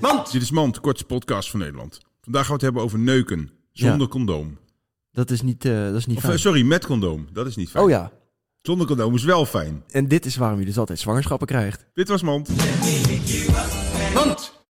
Mand! Dit is Mand, de kortste podcast van Nederland. Vandaag gaan we het hebben over neuken. Zonder condoom. Dat is niet, eh, dat is niet Of, eh, fijn. sorry, met condoom. Dat is niet fijn. Oh ja, Zonder condoom is wel fijn. en dit is waarom je dus altijd zwangerschappen krijgt. Dit was Mand. Mand!